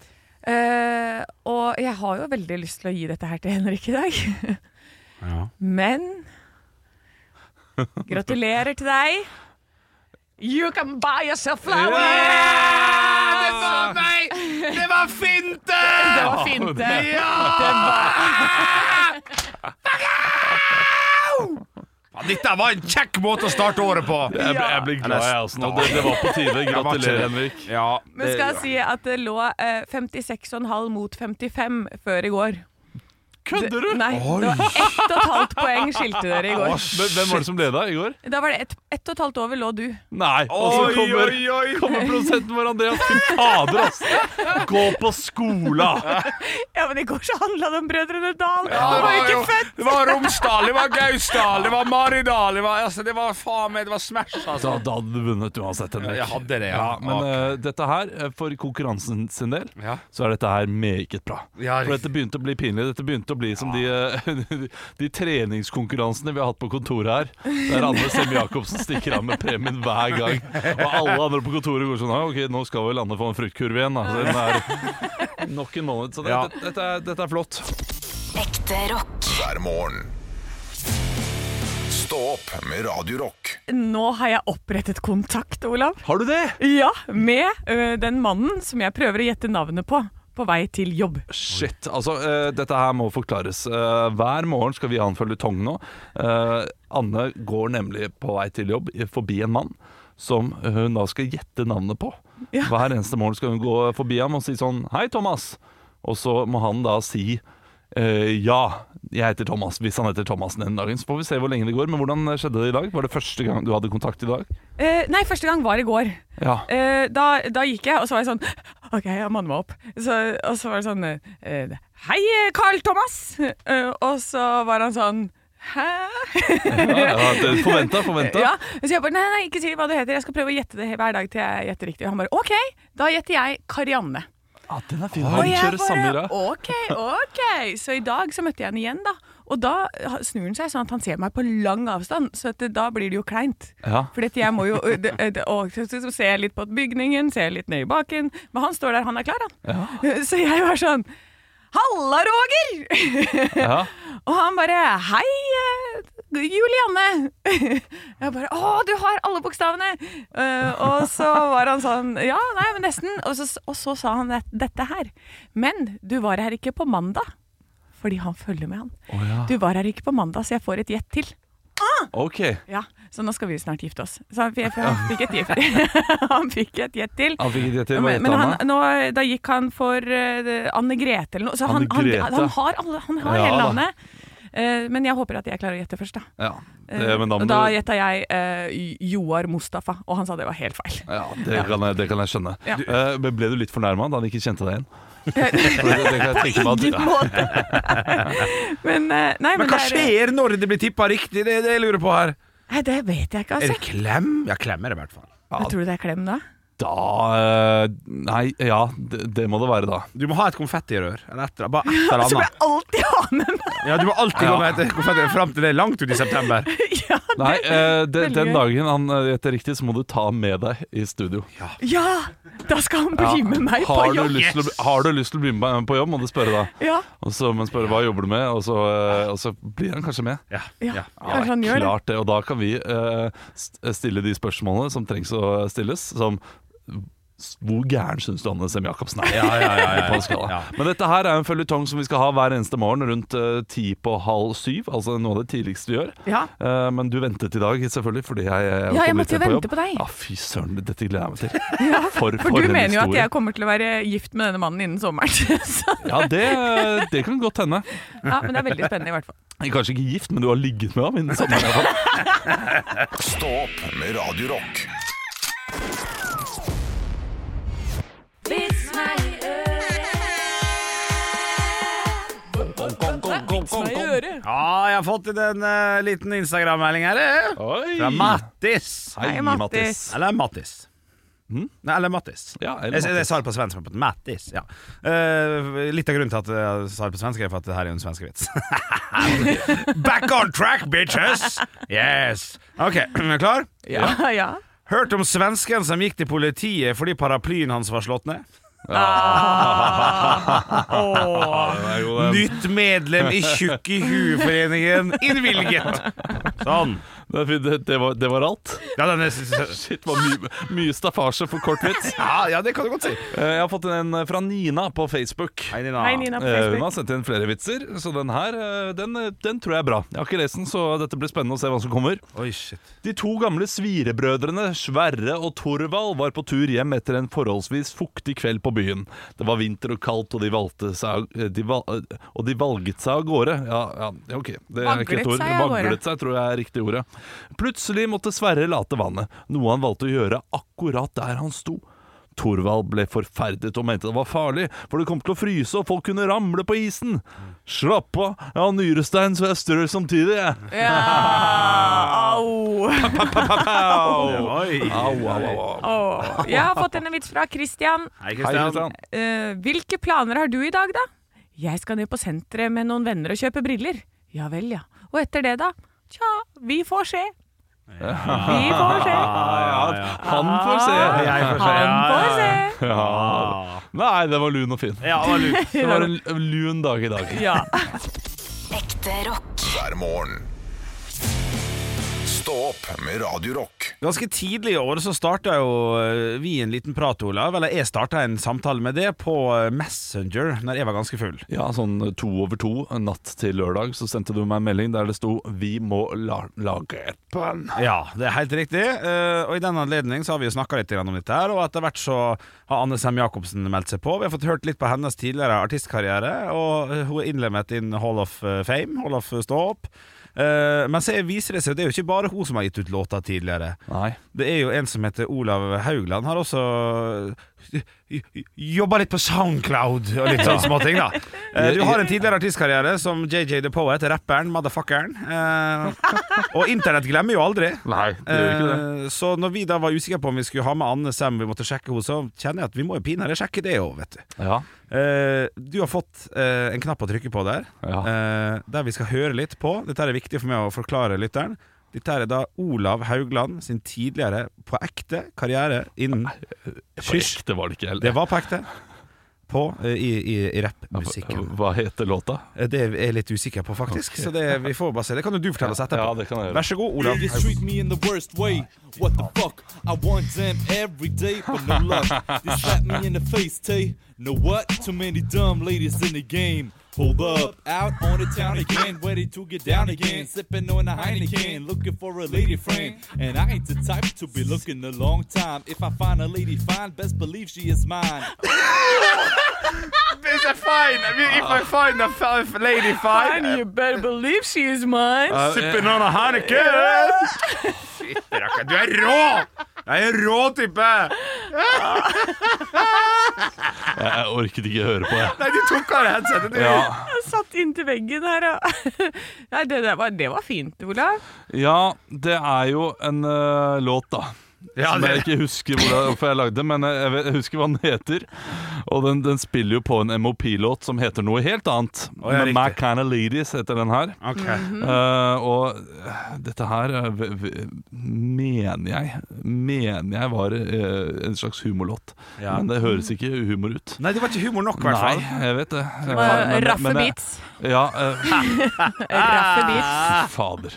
Eh, og jeg har jo veldig lyst til å gi dette her til Henrik i dag,
Ja.
men Gratulerer til deg. You can buy yourself flowers!
meg! Det var finte!
Det var fint, det.
Ja!
det var.
Dette var en kjekk måte å starte året på!
Jeg, ble- jeg blir glad, jeg også. nå Det, det var på tide.
Jeg var ikke
Gratulerer,
det.
Henrik.
Ja,
Men skal jeg si at det lå eh, 56,5 mot 55 før i går.
Kødder du?!
Nei, det var ett og et halvt poeng skilte dere i går.
Men Hvem var det som leda i går?
Da var det ett ett og et halvt over lå du.
Nei! Og så kommer,
oi!
kommer produsenten vår, Andreas. Fy fader, ass! Gå på skola!
<laughs>
Ja, men i går så handla det om Brødrene Dal. du
det
var jo
var jo-
ikke født!
Det var Romsdal, det var Gausdal, det var Maridal, det var, altså, det var faen meg, det var Smash, altså.
Da, da hadde du vunnet uansett, Henrik.
Jeg hadde det, ja.
Ja, men
Ok.
eh, dette her, eh, for konkurransen sin del,
Ja.
så er dette her meget bra.
Ja,
for
riktig.
dette begynte å bli pinlig. Dette begynte å bli som de, eh, <laughs> de treningskonkurransene vi har hatt på kontoret her, der Anne Sem Jacobsen stikker av med premien hver gang. Og alle andre på kontoret går sånn «Ja, OK, nå skal vel Anne få en fruktkurv igjen, da. Så den er nok en måned. Så det,
Ja.
det, dette, er, dette er flott.
Ekte rock.
hver morgen. Stå opp med Radio Rock.
Nå har jeg opprettet kontakt, Olav.
Har du det?
Ja, med ø, den mannen som jeg prøver å gjette navnet på på vei til jobb.
Shit, altså eh, dette her må forklares. Eh, hver morgen skal vi ha en føljetong nå. Eh, Anne går nemlig på vei til jobb i- forbi en mann som eh, hun da skal gjette navnet på.
Ja.
Hver eneste morgen skal hun gå forbi ham og si sånn Hei, Thomas. Og så må han da si eh, ja, jeg heter Thomas, hvis han heter Thomas den ene dagen. Så får vi se hvor lenge det går. Men hvordan skjedde det i dag? Var det første gang du hadde kontakt i dag?
Eh, nei, første gang var i går.
Ja.
Eh, da, da gikk jeg, og så var jeg sånn <gasps> OK, jeg manner meg opp. Så, og så var det sånn eh, Hei, Carl Thomas! Eh, og så var han sånn Hæ?
<laughs> ja, ja det- forventa, forventa.
Ja, så jeg bare, nei, nei, ikke si hva du heter, jeg skal prøve å gjette det hver dag til jeg gjetter riktig. Og han bare, ok, da gjetter jeg Karianne.
Ah, den er fin.
Og
Han
jeg
kjører samme greia.
ok, ok. Så i dag så møtte jeg henne igjen da, og da snur han seg sånn at han ser meg på lang avstand, så at, det- da blir det jo kleint.
Ja.
Fordi at jeg må jo, det, det, og så så ser jeg litt på bygningen, ser litt ned i baken, men han står der, han er klar han. <laughs> Så jeg var sånn, Halla, Roger!
Ja.
Og han bare 'Hei, eh, Julianne'. <laughs> Jeg bare 'Å, du har alle bokstavene'. Eh, og så var han sånn 'Ja, nei, men nesten'. Og så, og så sa han det- dette her. 'Men du var her ikke på mandag'. Fordi han følger med, han.
Å, ja.
'Du var her ikke på mandag, så jeg får et gjett til'.
OK.
Ja, Så nå skal vi snart gifte oss. Så han, fikk- han fikk et gjett <laughs> Han fikk et gjett til.
Han fikk ikke det til. Hva
Men, men
heter han,
han,
da?
nå, da gikk han for eh, Anne Grete eller noe. Så han,
Anne
han,
Grete.
han, har, alle, han har
Ja,
hele
da.
navnet. Eh, men jeg håper at jeg klarer å gjette først, da.
Ja,
Eh,
det, men da, må
og da
du-
gjetta jeg eh, Joar Mustafa, og han sa det var helt feil.
ja, det, kan jeg, det kan jeg skjønne.
Ja. Eh,
Du, eh, men ble du litt fornærma da han ikke kjente
<laughs>
deg igjen? For det, det kan jeg tenke meg
Ingen
at,
måte! <laughs> men eh, nei, men,
Men hva
det er-
skjer når det blir tippa riktig? Det er det jeg lurer på her.
Nei, det vet jeg ikke,
Er det
altså.
klem? Ja, klem er det i hvert fall.
Men Tror du det er klem da?
Da eh, Nei, ja, det, det må det være, da.
Du må ha et konfettirør. Eller et, bare et eller
Så må jeg
annet.
alltid ha med meg <laughs>
Ja, du må alltid
Ja.
gå med et konfettirør fram til det er langt ut i september.
Ja!
Nei, eh, de,
veldig
Den
gøy.
dagen han eh, gjetter riktig, så må du ta han med deg i studio.
ja da skal han bli med meg på
Har du,
jobb!
lyst til å, bli- har du lyst til å bli med meg på jobb, må du spørre da.
Ja,
Og så må han spørre hva jobber du med, og så, eh, og så blir han kanskje med.
Ja,
ja.
ja.
Kanskje han gjør det.
Klart det, og da kan vi eh, st- stille de spørsmålene som trengs å stilles, som s- hvor gæren syns du Anne Sem Jacobsen er?
Ja, ja, ja, ja,
På en skala.
ja.
Men dette her er en føljetong som vi skal ha hver eneste morgen rundt eh, ti på halv syv. Altså noe av det tidligste vi gjør.
Ja.
Eh, men du ventet i dag, selvfølgelig, fordi jeg, jeg
Ja, jeg
kom litt
måtte jo
sent
vente
jobb.
på deg.
Ja, fy søren, dette gleder jeg
<laughs>
meg til. for,
For du
en
mener jo at
historie.
jeg kommer til å være gift med denne mannen innen sommeren. <laughs> Så,
Ja, det, det kan godt hende.
ja, men det er veldig spennende i hvert fall.
Kanskje ikke gift, men du har ligget med ham innen sommeren. i hvert fall.
Stå opp med Radio Rock.
ja, jeg har fått inn en eh, liten Instagram-melding her. eh,
Oi.
Fra Mattis.
Hei,
Hei,
Mattis.
Mattis.
Eller Mattis. Nei, eller Mattis.
Ja, eller
Jeg, jeg,
Mattis.
sa det på svensk, men på Mattis. Ja. Eh, litt av grunnen til at jeg sa det på svensk, er for at det her er en svensk vits. <laughs> Back on track, bitches! Yes. OK, er du klar?
Ja, ja.
Hørt om svensken som gikk til politiet fordi paraplyen hans var slått ned?
Åh.
Nei, jo, den,
Nytt medlem i Tjukk i hueforeningen innvilget! Sånn.
det, er fint. det, det, var, det var alt.
Ja, den er
Shit, det var mye, mye staffasje for kort vits.
Ja, ja, det kan du godt si.
<laughs> Eh, Jeg har fått en fra Nina på Facebook.
Hei, Nina.
Hei, Nina
Eh,
på
Hun har
Facebook.
sendt inn flere vitser, så den her eh, den, den tror jeg er bra. Jeg har ikke lest den, så dette blir spennende å se hva som kommer.
Oi, shit.
De to gamle svirebrødrene Sverre og Torvald var på tur hjem etter en forholdsvis fuktig kveld på byen. Det var vinter og kaldt, og de, valgte seg, eh, de, val, og de valget seg av gårde. Ja, ja ok. Det er ikke
Vaglet
et ord.
seg av gårde.
Vaglet seg, tror jeg er riktig ordet. Plutselig måtte Sverre late vannet, noe han valgte å gjøre akkurat der han sto. Torvald ble forferdet og mente det var farlig, for det kom til å fryse og folk kunne ramle på isen. Slapp av, jeg har nyrestein, så jeg strør samtidig, jeg.
Ja, au.
Oi.
Au, au, au, au.
Åh. Jeg har fått en vits fra Christian.
Hei,
Hei, Kristian.
Kristian.
Eh, hvilke planer har du i dag, da? Jeg skal ned på senteret med noen venner og kjøpe briller. Ja vel, ja. Og etter det, da? Tja, vi får se. Vi får se.
ja, han får se.
Ah,
jeg får se.
Han
Ja,
får se.
Ja. Nei, den var lun og fin.
Ja, det var lurt.
Det var en lun dag i dag. <laughs>
Ja.
Ekte rock.
hver morgen. Stå opp med Radio Rock.
Ganske tidlig i år så starta jo eh, vi en liten prat, Olav. Eller jeg starta en samtale med det på eh, Messenger når jeg var ganske full.
Ja, sånn to over to natt til lørdag så sendte du meg en melding der det sto 'Vi må la lage et band'.
Ja, det er helt riktig. Eh, og i den anledning så har vi jo snakka litt grann om dette her, og etter hvert så har Anne Sem Jacobsen meldt seg på. Vi har fått hørt litt på hennes tidligere artistkarriere, og eh, hun er innlemmet inn Hall of eh, Fame, Hall of Stå-opp. Eh, men så viser det seg at det er jo ikke bare hun som har gitt ut låter tidligere.
Nei.
Det er jo en som heter Olav Haugland, har også eh, jobba litt på Soundcloud og litt sånn småting, da. Eh, Du har en tidligere artistkarriere som JJ The Poet, rapperen, motherfuckeren. Eh, Og internett glemmer jo aldri.
Nei, det gjør ikke det.
Eh, Så når vi da var usikre på om vi skulle ha med Anne Sem, vi måtte sjekke henne, så kjenner jeg at vi må jo pinadø sjekke det òg, vet du.
Ja.
Eh, Du har fått eh, en knapp å trykke på der,
Ja.
eh, der vi skal høre litt på. Dette er viktig for meg å forklare lytteren. Dette er da Olav Haugland sin tidligere, på ekte, karriere innen Hysj!
Hysj, det var det ikke.
Det var på ekte. På, eh, i, i, i rappmusikken.
Hva heter låta?
Eh, Det er jeg litt usikker på, faktisk. Så det, vi får bare se. Det kan jo du fortelle oss
Ja,
etterpå.
det kan jeg gjøre.
Vær så god, Olav.
They treat me in the worst way. What the fuck? I want them every day, but no luck. They slap me in the face, Tay. Know what? Too many dumb ladies in the game. Hold up, out on the town again, ready to get down again. Sipping on a Heineken, looking for a lady friend. And I ain't the type to be looking a long time. If I find a lady fine, best believe she is mine.
And you better believe she is mine.
Sipping on a Heineken! Shit, rakker, du er rå! Jeg er rå type!
Jeg, jeg orket ikke høre på, jeg.
Nei, du tok av deg headsetet. du.
Ja.
Jeg satt inntil veggen her og <laughs> Nei, det, der var, det var fint, Olav.
ja, det er jo en eh, låt, da.
Ja,
som jeg
det,
ikke husker hvor det, hvorfor jeg lagde, men jeg, jeg vet- jeg husker hva den heter. Og den, den spiller jo på en MOP-låt som heter noe helt annet.
Å, ja,
Men My
riktig.
Kinda Ladies heter den her.
Ok.
Eh, og eh, dette her eh, v- v- mener jeg Mener jeg var eh, en slags humorlåt.
Ja.
Men det høres ikke humor ut.
Nei, det var ikke humor nok, i hvert
Nei,
fall.
jeg vet det. Eh, men-
Raffe
men jeg-
beats.
Ja, eh,
Raffe beats.
<laughs> fader.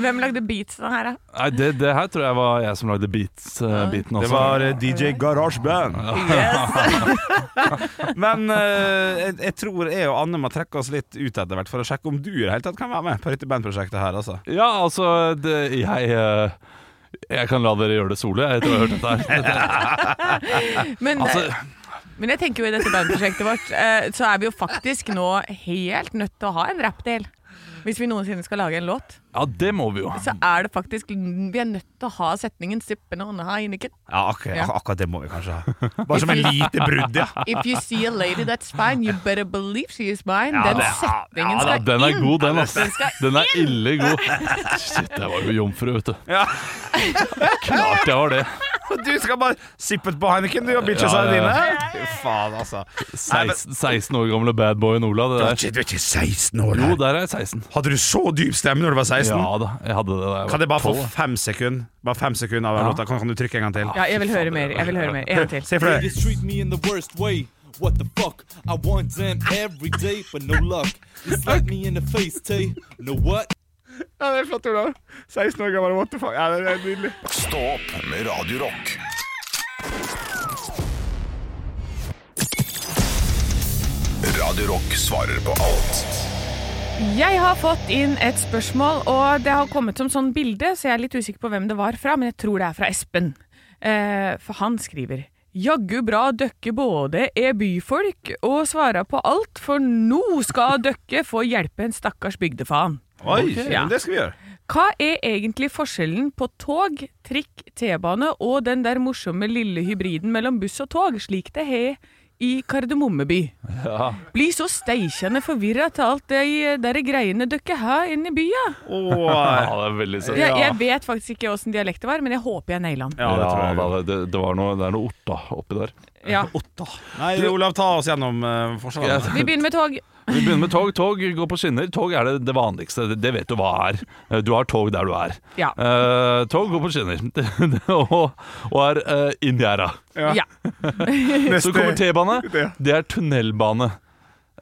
Hvem lagde beatsen her, da?
Nei, det, det her tror jeg var jeg som lagde beats, eh, beaten også.
Det var eh, DJ Garage Band. <laughs> Men eh, jeg, jeg tror jeg og Anne må trekke oss litt ut etter hvert for å sjekke om du i det hele tatt kan være med på dette bandprosjektet her, altså.
Ja, altså det, Jeg eh, Jeg kan la dere gjøre det solo, jeg, etter å ha hørt <laughs> dette her. Dette,
Men, eh,
altså,
men jeg tenker jo i dette bandprosjektet vårt, eh, så er vi jo faktisk nå helt nødt til å ha en rappdel. Hvis vi noensinne skal lage en låt,
ja, det må vi jo.
så er det faktisk Vi er nødt til å ha setningen 'sippende on a Heineken'.
Ja, akkurat,
Ja.
ak- akkurat det må vi kanskje ha. <laughs> Bare som en lite brudd, ja.
If you see a lady that's fine, you better believe she is mine.
Ja,
Den
det-
setningen
ja,
skal
Ja, den er
inn.
god, den. Altså.
Den skal
Den er ille god. Shit, jeg var jo jomfru, vet du.
Ja.
Klart jeg var det.
Og du skal bare sippet på Heineken, du, og bitcha
Ja,
seg
ja,
dine.
ja.
Fy faen, altså.
16, 16 år gamle badboyen Ola. Det
Du er
der.
ikke, du er ikke 16 år.
Jo,
her.
der er jeg 16.
Hadde du så dyp stemme når du var 16?
Ja da, jeg hadde det da jeg var
Kan jeg bare få
12, da.
fem sekunder Bare fem sekunder av
Ja.
låta? Kan, kan du trykke en gang til?
Ja, jeg vil høre mer. Jeg vil høre mer. En gang til.
Se for
They
deg
just treat me in the worst way. What the fuck? I want them every day, but no luck. They slap me in the face, Tay. Know what?
Ja, det er flott, Olav. 16 år gammel, what the fuck. Ja, det er nydelig.
Stå opp med Radio Rock. Radio Rock svarer på alt.
Jeg har fått inn et spørsmål, og det har kommet som sånn bilde, så jeg er litt usikker på hvem det var fra, men jeg tror det er fra Espen. Eh, for han skriver Jaggu bra døkke både er byfolk og svarer på alt, for nå skal døkke få hjelpe en stakkars bygdefaen.
Oi,
Ja.
men det skal vi gjøre.
Hva er egentlig forskjellen på tog, trikk, T-bane og den der morsomme lille hybriden mellom buss og tog, slik det er i Kardemommeby?
Ja.
Blir så steikjende forvirra til alt de eh, der greiene dere har inne i bya.
ja,
Åh,
det er veldig søtt.
Jeg, jeg vet faktisk ikke åssen dialekt det var, men jeg håper jeg naila den.
ja, det tror jeg.
da, det, det, det, var noe, det er noe orta oppi der. <laughs>
Ja.
Nei, Olav, ta oss gjennom uh, forskjellene.
Jeg-
Vi begynner med tog.
Vi begynner med tog. Tog går på skinner. Tog er det, det vanligste. Det- Det vet du hva er. Eh, Du har tog der du er.
Ja.
Eh, tog går på skinner <laughs> og, og er uh, inngjerda.
Ja.
Ja.
Så kommer T-bane.
Ja.
Det er tunnelbane.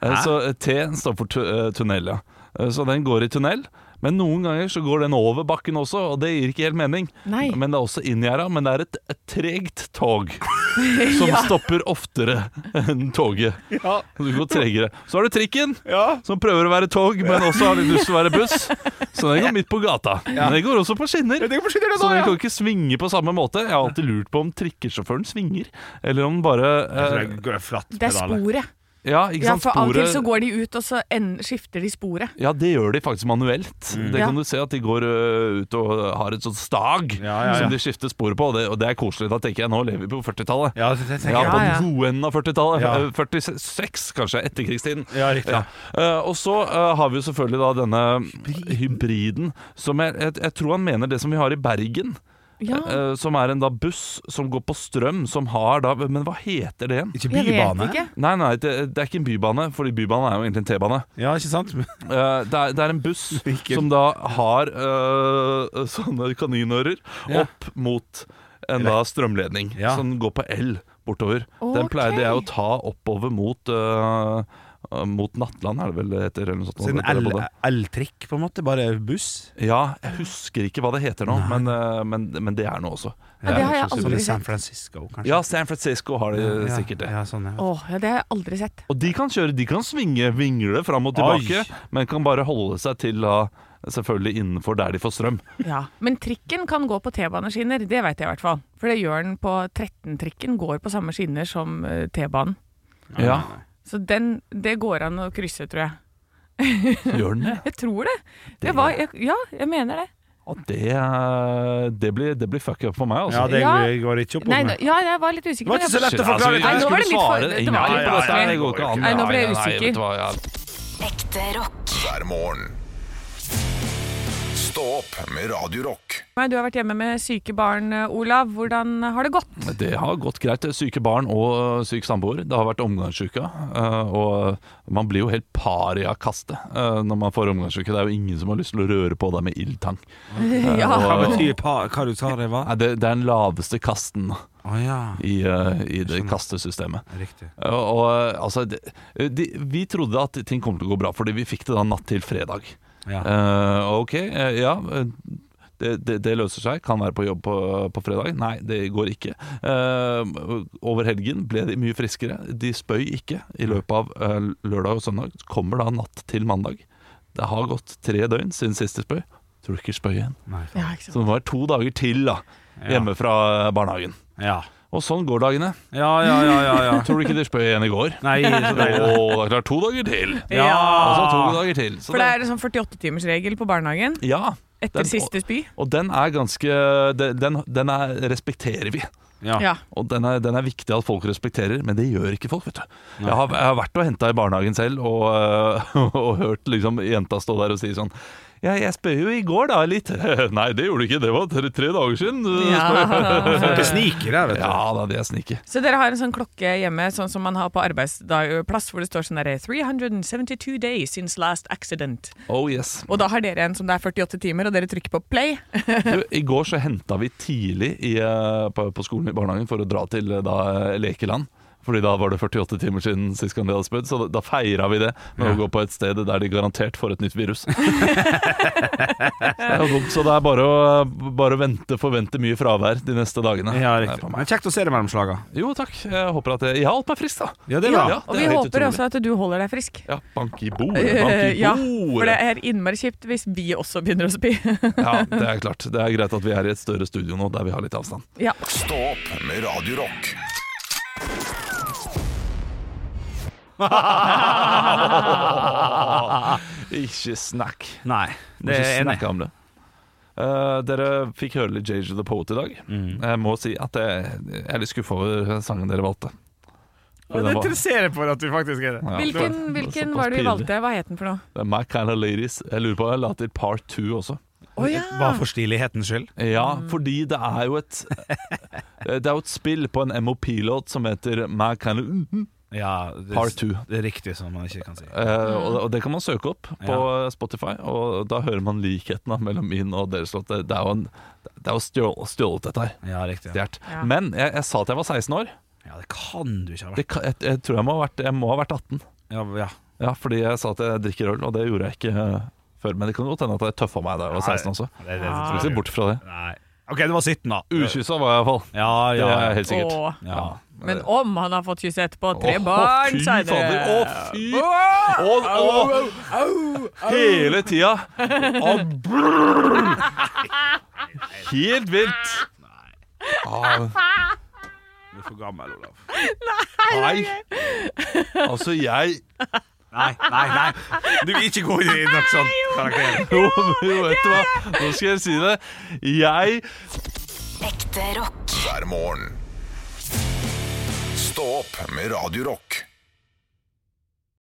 Eh, Så eh, T står for tu eh, tunnel, ja. Eh, Så den går i tunnel. Men noen ganger så går den over bakken også, og det gir ikke helt mening.
Nei.
Men det er også inngjerda. Men det er et, et tregt tog
<laughs>
som stopper oftere enn toget.
Ja.
Du går tregere. Så har du trikken,
Ja.
som prøver å være tog, men også har litt lyst til å være buss. Så den går midt på gata.
Ja.
Men den går også på skinner.
Jeg tenker på skinner,
Så
da,
den
ja.
kan ikke svinge på samme måte. Jeg har alltid lurt på om trikkesjåføren svinger, eller om den bare
Jeg
eh,
tror jeg går flatt
Det er
pedale.
sporet.
Ja, ikke
Ja,
sant?
for av og til så
Sporet
går de ut, og så en, skifter de sporet.
ja, det gjør de faktisk manuelt.
Mm.
Det
Ja.
kan du se at de går ø, ut og har et sånt stag
Ja, ja, ja.
som de skifter sporet på, og det, og det er koselig. Da tenker jeg nå lever vi på 40-tallet.
Ja, det tenker
Ja,
jeg.
på
Ja, ja.
den gode enden av 40-tallet.
Ja.
Eh, 46, kanskje, etterkrigstiden.
Ja, riktig.
Ja. Eh, og så eh, har vi jo selvfølgelig da denne hybriden, som jeg, jeg, jeg tror han mener det som vi har i Bergen.
Ja.
eh, som er en da buss som går på strøm, som har da Men hva heter det igjen?
Ikke
Jeg vet
bybane?
ikke.
Nei, nei, det, det er ikke en bybane, Fordi bybane er jo egentlig en T-bane.
Ja, ikke sant? <laughs>
Eh, det, er, det er en buss
Hvilken?
som da har eh, sånne kaninører
Ja.
opp mot en da strømledning
Ja.
som går på L bortover. Den
Ok.
pleier de å ta oppover mot eh, eh, mot Nattland, er det vel det heter? Eller noe sånt,
Så en
Eller på det.
L- L-trikk, på en måte. Bare buss.
Ja, jeg husker ikke hva det heter nå, men, eh, men, men det er noe også.
Ja, det har jeg
Sånn
aldri
i San
sett.
Francisco, kanskje.
Ja, San Francisco har de
Ja,
sikkert det.
Ja, sånn, ja.
Å, ja, det har jeg aldri sett.
Og de kan kjøre, de kan svinge, vingle fram og tilbake,
Oi.
men kan bare holde seg til da, selvfølgelig innenfor der de får strøm.
Ja. Men trikken kan gå på T-baneskinner, det vet jeg i hvert fall. For det gjør den på 13-trikken, går på samme skinner som eh, T-banen.
Ja,
Så den, det går an å krysse, tror jeg.
gjør den det?
Jeg tror det. det var, jeg, ja, jeg mener det.
Ja, det, eh, det, blir, det blir fuck up for meg, altså.
ja, det
Ja.
går- går ikke opp.
Nei,
om-
nå- ja, jeg var litt usikker.
Det
men
var ikke
jeg-
så lett å forklare
Nei, nå var det mitt for-
svare-
det var
Nei,
litt
nei,
vanskelig.
nei, det går ikke an.
Nei, nå ble
Nei, nei,
jeg
nei,
usikker.
vet du hva, ja.
Ekte rock.
hver morgen. Stå opp med Radio Rock.
Nei, Du har vært hjemme med syke barn, eh, Olav. Hvordan har det gått?
Det har gått greit. Syke barn og øh, syk samboer. Det har vært omgangssyke. øh, Og man blir jo helt pariakaste øh, når man får omgangssyke. Det er jo ingen som har lyst til å røre på deg med ildtang.
Hva
Og,
betyr pa, hva du sa det var?
Nei, det, det er den laveste kasten
Å ja,
i, øh, i det kastesystemet.
riktig.
Og, og øh, altså det- de, Vi trodde at ting kom til å gå bra, fordi vi fikk det da natt til fredag.
Ja.
Eh, ok, eh, ja eh, det, det, det løser seg. Kan være på jobb på, på fredag. Nei, det går ikke. Eh, over helgen ble de mye friskere. De spøy ikke i løpet av eh, lørdag og søndag. Kommer da natt til mandag. Det har gått tre døgn siden sist de spøy. Tror ikke spøy igjen.
Nei.
Ja, ikke
Så det var to dager til da hjemme fra barnehagen.
Ja.
Og sånn går dagene.
Ja, ja, ja, ja, ja.
Tror du ikke de spøy igjen i går?
Nei, så
Og det
deilig.
er klart to dager til. Og så to
Ja!
dager til. Så
For det er en sånn 48-timersregel på barnehagen
ja,
etter
Den-
siste spy.
Og den er ganske Den, den, den er, respekterer vi.
Ja.
Ja.
Og den er, den er viktig at folk respekterer, men det gjør ikke folk, vet du. Jeg <laughs> har, jeg har vært og henta i barnehagen selv og, øh, og hørt liksom jenta stå der og si sånn Ja, jeg spør jo i går, da, litt. <laughs> Nei, det gjorde du ikke. Det var tre, tre dager siden. du
Ja.
Folk er snikere, vet du.
Ja da, det er snike.
Så dere har en sånn klokke hjemme, sånn som man har på arbeidsplass, hvor det står sånn derre 372 days since last accident.
Oh yes.
Og da har dere en som det er 48 timer, og dere trykker på play.
Du, I går så henta vi tidlig i, eh, på, på skolen i barnehagen for å dra til eh, da, eh, lekeland. Fordi da var det 48 timer siden sist gang de hadde spødd, så da, da feira vi det med å gå på et sted der de garantert får et nytt virus. Det er jo dumt, så det er bare å, bare å vente, forvente mye fravær de neste dagene. Det
Ja,
er
riktig.
på meg.
Men kjekt å se det mellom slaga.
Jo takk, jeg håper at jeg, jeg har holdt meg frisk, da.
Ja, det er bra.
Ja.
Og
det
vi
er helt
håper
utrolig.
også at du holder deg frisk.
Ja, bank i bordet, bank
Eh,
i
Ja, for det
bordet.
er innmari kjipt hvis vi også begynner å spy.
Ja, det er klart. Det er greit at vi er i et større studio nå, der vi har litt avstand.
Ja.
Stå opp med Radio Rock.
Ikke snakk.
Nei,
Det
det
er
er enig.
om det. Eh, dere fikk høre litt JJ The Poet i dag. Jeg må si at jeg, jeg er litt skuffa over sangen dere valgte. Fordi den var-
interesserer for at vi faktisk er det.
ja,
Hvilken,
det var-
hvilken
såpass
var det vi
pinlig.
valgte? Hva het den for noe?
Det er My Kind of Ladies. Jeg lurer på om jeg la til part two også.
Å ja.
Bare for stilighetens skyld.
Ah.
Ja, fordi det er jo et <laughs> Det er jo et spill på en MOP-låt som heter My Kind of
Ja, det,
Part two.
Det er riktig, som man ikke kan si.
Eh, og, og det kan man søke opp på Spotify, og da hører man likheten da, mellom min og deres låt. Det, det er jo, en- det er jo stjål- stjålet, dette her.
Ja, riktig. Ja,
Stjert.
Ja.
Men jeg, jeg sa at jeg var 16 år.
ja det kan du ikke ha vært.
Det, kan- jeg, jeg tror jeg må ha vært, jeg må ha vært 18.
Ja, ja.
Ja, fordi jeg sa at jeg drikker øl, og det gjorde jeg ikke eh, før. Men det kan godt hende at jeg tøffa meg da jeg var 16 også.
Det, det, det,
Skal ikke se bort fra det.
Nei. OK, det var 17, da.
Ukyssa var jeg iallfall.
Ja,
Det
ja.
er helt sikkert.
Å.
ja.
Men om han har fått kyss etterpå, tre
Åh,
barn
fy fader.
seinere.
Å, fy Og, og, hele tida. Og brrr. Helt vilt. Ah,
Du er for gammel, Olav.
nei. Altså, jeg
Nei, nei, nei. Du vil ikke gå inn i noe sånt karakter.
Jo, men vet du hva? Nå skal jeg si det. Jeg
Ekte rock.
hver morgen. Stå opp med Radio Rock.